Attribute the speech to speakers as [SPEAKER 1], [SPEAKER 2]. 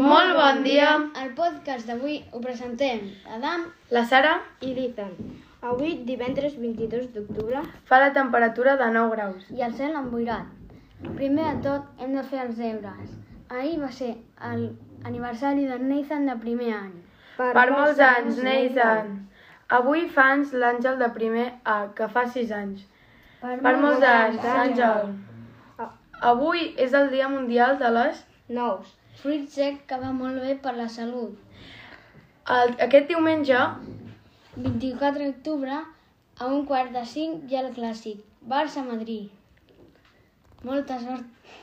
[SPEAKER 1] Molt bon dia.
[SPEAKER 2] El podcast d'avui ho presentem Adam
[SPEAKER 1] La Sara
[SPEAKER 2] i l'Ethan. Avui, divendres 22 d'octubre,
[SPEAKER 1] fa la temperatura de 9 graus.
[SPEAKER 2] i el cel emboirat. Primer de tot, hem de fer els deures. Ahir va ser el aniversari de Nathan de primer any.
[SPEAKER 1] Per, molts anys, Nathan. Avui fa anys l'Àngel de primer A, que fa 6 anys.
[SPEAKER 2] Per,
[SPEAKER 1] Per molts anys, Àngel. Avui és el Dia Mundial de les...
[SPEAKER 2] Nous. Fruit sec que va molt bé per la salut.
[SPEAKER 1] El, aquest diumenge,
[SPEAKER 2] 24 d'octubre, a un quart de cinc, hi ha el clàssic. Barça-Madrid. Molta sort.